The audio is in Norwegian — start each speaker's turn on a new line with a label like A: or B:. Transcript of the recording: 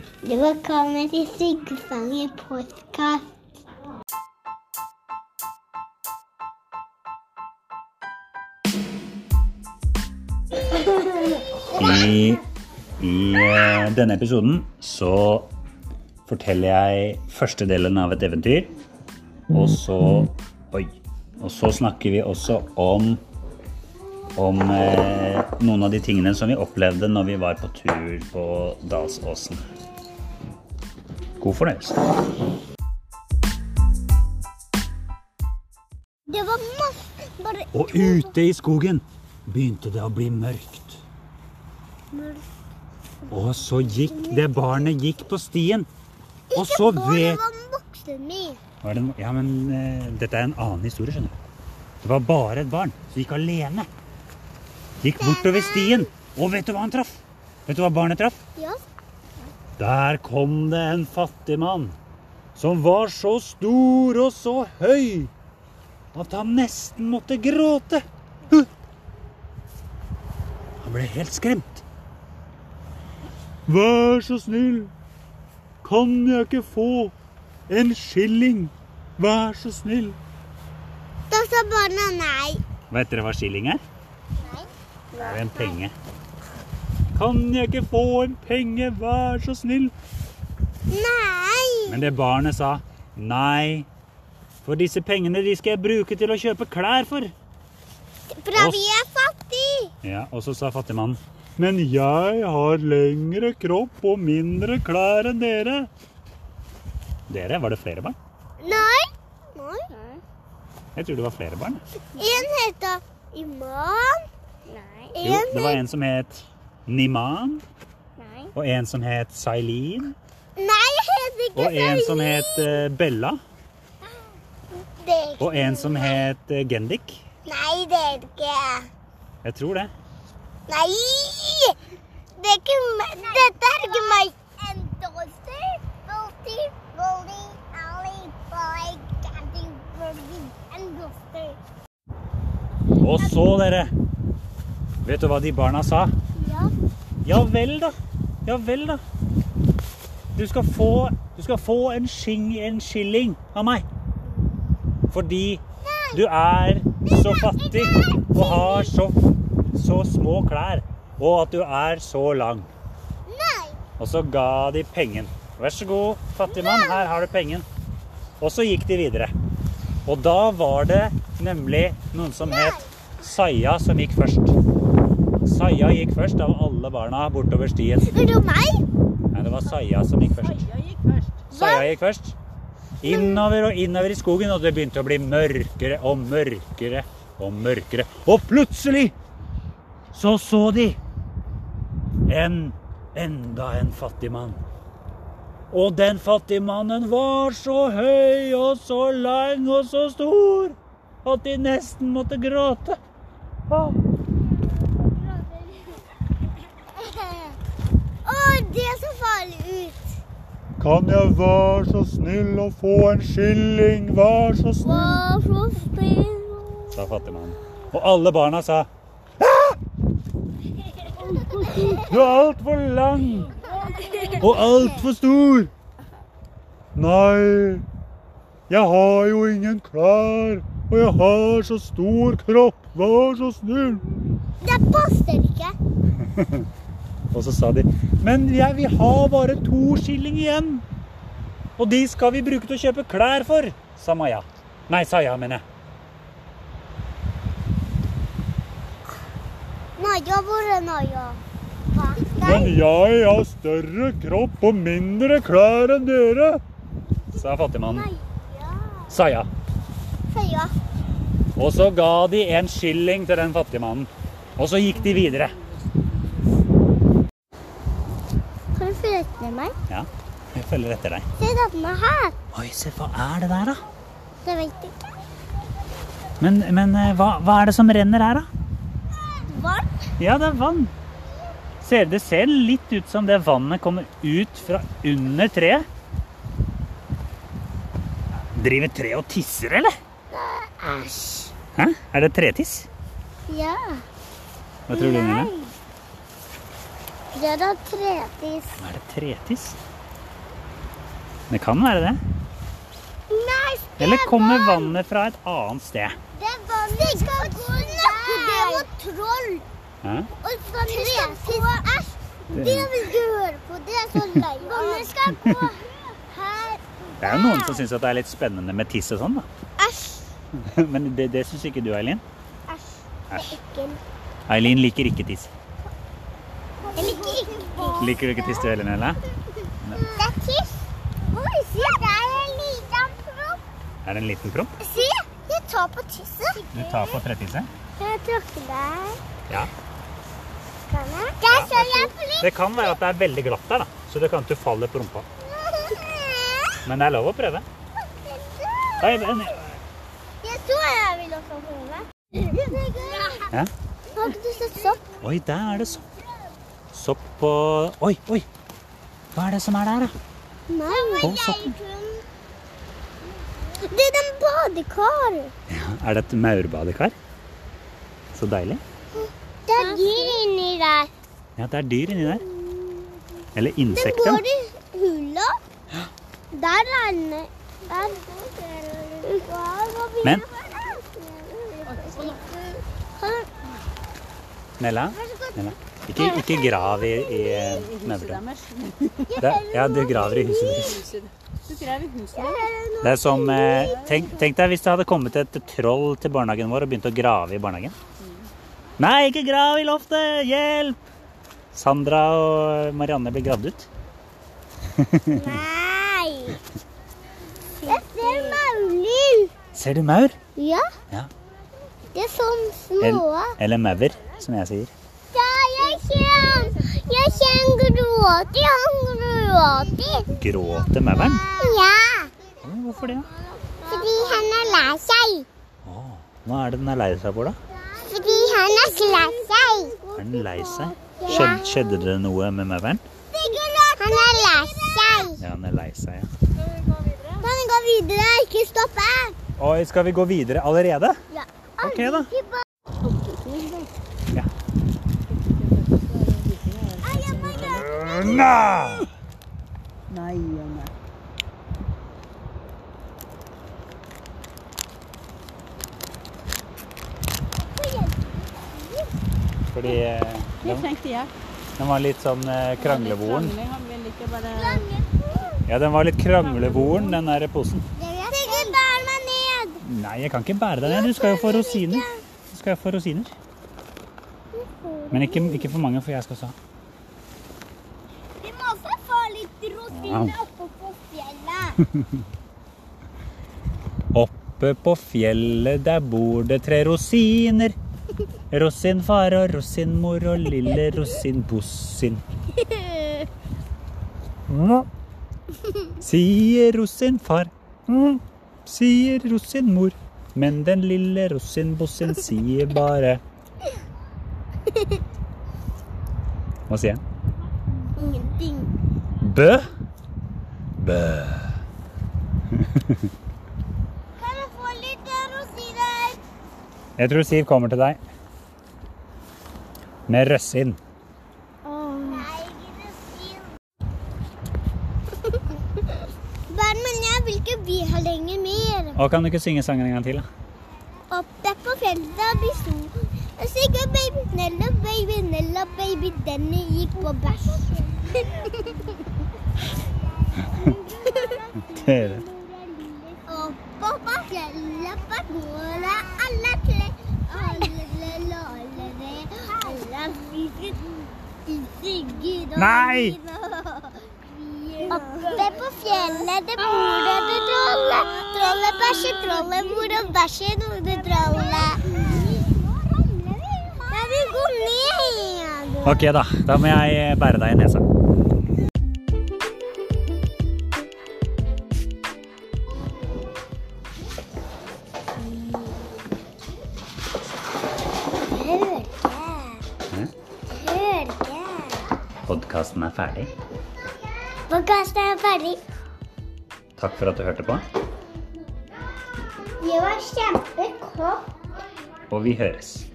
A: Hjertelig velkommen til Sigfanger podkast.
B: I, i eh, denne episoden så forteller jeg første delen av et eventyr. Og så Oi. Og så snakker vi også om om eh, noen av de tingene som vi opplevde når vi var på tur på Dalsåsen. God fornøyelse.
A: Det var masse bare
B: Og ute i skogen begynte det å bli mørkt. Og så gikk det barnet gikk på stien. Og så
A: Det
B: ved
A: var voksen min.
B: Hva er det nå? Ja, men eh, dette er en annen historie, skjønner du. Det var bare et barn som gikk alene. Gikk bortover stien, og vet du hva han traff? Vet du hva barnet traff?
A: Ja.
B: Der kom det en fattig mann som var så stor og så høy at han nesten måtte gråte. Huh! Han ble helt skremt. Vær så snill, kan jeg ikke få en skilling? Vær så snill.
A: Da sa barna nei.
B: Vet dere hva skilling er?
A: Nei.
B: Det er en penge. Kan jeg ikke få en penge, vær så snill?
A: Nei.
B: Men det barnet sa nei, for disse pengene de skal jeg bruke til å kjøpe klær for.
A: Bra,
B: Oss.
A: vi er fattige.
B: Ja, Og så sa fattigmannen. Men jeg har lengre kropp og mindre klær enn dere. Dere? Var det flere barn?
A: Nei. Nei.
B: Jeg tror det var flere barn.
A: En heter Iman. Nei.
B: Jo,
A: En
B: det var en som het Niman,
A: Nei.
B: og en som het Sailin,
A: Nei, jeg heter ikke
B: og en som
A: Salim.
B: het eh, Bella,
A: Det er ikke-
B: og en som het eh, Gendik.
A: Nei, det er det ikke.
B: Jeg tror det.
A: Nei! Det er ikke meg. Dette er ikke meg.
B: Og så, dere. Vet du hva de barna sa?
A: Ja.
B: Ja vel, da. Ja vel, da. Du skal få, du skal få en, sking, en skilling av meg. Fordi du er så fattig og har så, så små klær. Og at du er så lang.
A: Nei.
B: Og så ga de pengen. Vær så god, fattigmann, her har du pengen. Og så gikk de videre. Og da var det nemlig noen som het Saia som gikk først. Saia gikk først av alle barna bortover stien.
A: Er det meg?
B: Nei, det var Saia som gikk først. Saia gikk først. Innover og innover i skogen, og det begynte å bli mørkere og mørkere og mørkere. Og plutselig så så de en enda en fattig mann. Og den fattige mannen var så høy og så lang og så stor at de nesten måtte gråte. Ah.
A: Å, det så farlig ut.
B: Kan jeg være så snill å få en skilling, vær så
A: Å, så snill.
B: sa fattigmannen. Og alle barna sa "Ah!" Du er altfor lang og altfor stor. Nei, jeg har jo ingen klær, og jeg har så stor kropp, vær så snill.
A: Det passer ikke.
B: Og så sa de Men jeg vil ha bare to skilling igjen. Og de skal vi bruke til å kjøpe klær for, sa Maja. Nei, Saja, mener jeg.
A: Naja, hvor er Naja? Hva?
B: Men
A: Nei.
B: jeg har større kropp og mindre klær enn dere, sa fattigmannen.
A: Naja.
B: Saja.
A: Saja.
B: Og så ga de en skilling til den fattigmannen. Og så gikk de videre.
A: Kan du flytte meg?
B: Ja, jeg følger etter deg.
A: Se denne her.
B: Oi, se, hva er det der, da?
A: Det vet jeg ikke.
B: Men, men eh, hva, hva er det som renner her, da?
A: Vann?
B: Ja, det er vann. Ser, det ser litt ut som det vannet kommer ut fra under treet. Driver treet og tisser, eller?
A: Æsj.
B: Hæ? Er det tretiss?
A: Ja.
B: Hva tror du, Nina?
A: Nei. Det er da tretiss.
B: Er det tretiss? Det kan være det.
A: Nei,
B: Eller kommer vannet fra et annet sted?
A: Det var ikke Det var troll.
B: Hæ?
A: Og skal vi gå Æsj! Det vil du høre på. Det er så lei. Vannet skal gå her.
B: Det er jo noen som syns det er litt spennende med tiss og sånn, da.
A: Æsj.
B: Men det, det syns ikke du, Eileen.
A: Æsj.
B: Æsj.
A: Ekkelt.
B: Eileen liker ikke tiss.
A: Jeg liker ikke tiss.
B: Liker du ikke tiss du heller, Nelle?
A: Det er tiss. Oi, se, der er en liten propp.
B: Er det en liten propp?
A: Se, jeg tar på tisset.
B: Du tar på trettisset?
A: Jeg tråkker der.
B: Ja.
A: Kan jeg? Der så jeg
B: Det kan være at det er veldig glatt der, da. Så det kan ikke falle på rumpa.
A: flipp.
B: Men det er lov å prøve. Oi, men...
A: Jeg så jeg ville også holde.
B: Hæ?
A: Har ikke du sett sånn? sopp?
B: Oi, der er det sopp. Sopp på Oi, oi! Hva er det som er der, da?
A: Nei. sånn.
B: Å, sånn. soppen.
A: Det er den badekar.
B: Er det et maurbadekar? Så deilig.
A: Det er dyr inni der.
B: Ja, det er dyr inni der. Eller
A: Den
B: insekter.
A: går
B: da.
A: i hula. Der er den. Der.
B: Men-
A: Kan-
B: Nella,
A: Vær så god.
B: Nella. Ikke, ikke grav i, i
C: Huset
B: maurtua.
C: deres.
B: Det- Ja, du graver i huset ditt.
C: Huset. Du graver i huset deres.
B: Det er som eh, tenk, tenk deg hvis det hadde kommet et troll til barnehagen vår og begynt å grave i barnehagen. Nei, ikke grav i loftet! Hjelp! Sandra og Marianne blir gravd ut.
A: Nei. Jeg ser maulin.
B: Ser du maur?
A: Ja.
B: Ja.
A: Det er sånn
B: El,
A: små.
B: eller maur, som jeg sier.
A: Ja, jeg kjenner, jeg kjenner gråt. Jeg gråter.
B: Gråter mauren?
A: Ja,
B: Å, Hvorfor det? da?
A: fordi han er lei seg.
B: Å, hva er det den er lei seg for, da?
A: Fordi han er så lei seg.
B: Er den lei seg? Skjed, skjedde det noe med mauren?
A: Han er lei seg.
B: Ja, den er lei seg, ja.
A: Kan gå videre, ikke stoppe.
B: Oi, skal vi gå videre allerede?
A: Ja.
B: Ok, da. Ja.
A: Ai, jeg må gjøre
B: Nei!
C: Nei, ja, nei.
B: Fordi eh,
C: Det
B: den,
C: trengte jeg.
B: den var litt sånn eh, kranglevoren.
C: Krangling, Han vil ikke bare
A: lange fot.
B: Ja, den var litt kranglevoren, den der posen.
A: Sigurd, bær meg ned.
B: Nei, jeg kan ikke bære deg ned. Du skal jo få rosiner. Du skal jo få rosiner. Men ikke, ikke for mange, for jeg skal også ha.
A: Vi må også få litt rosiner oppe på fjellet.
B: Oppe på fjellet der bor det tre rosiner. Rosinfar og rosinmor og lille rosinbossin. Mm. Sier rosinfar, mm. sier rosinmor. Men den lille rosinbossin sier bare Hva sier han?
A: Ingenting.
B: Bø? Bø.
A: Kan jeg få litt eh, rosiner?
B: Jeg tror Siv kommer til deg. Med røssin.
A: Nei, ikke rosin. Bær meg ned, vil ikke vi ha lenger mer.
B: Og kan du ikke synge sangen en gang til? da?
A: Opp der på fjellet der blir sol. Og sikkert baby Nella, baby Nella, baby Denny gikk på bæsj.
B: Dere.
A: Oppå på fjellet på gårde alle tre. Alle lålere, alle spiser Sigurd og
B: Nei!
A: Oppe på fjellet det bor det trollet. Trollet bæsjer, trollet bor og bæsjer noe trollet. Jeg vil gå ned.
B: Ok, da. Da må jeg eh, bære deg i nesa.
A: Hørge. Hørge.
B: Podkasten er ferdig.
A: Podkasten er ferdig.
B: Takk for at du hørte på,
A: Det var kjempekort.
B: og vi høres.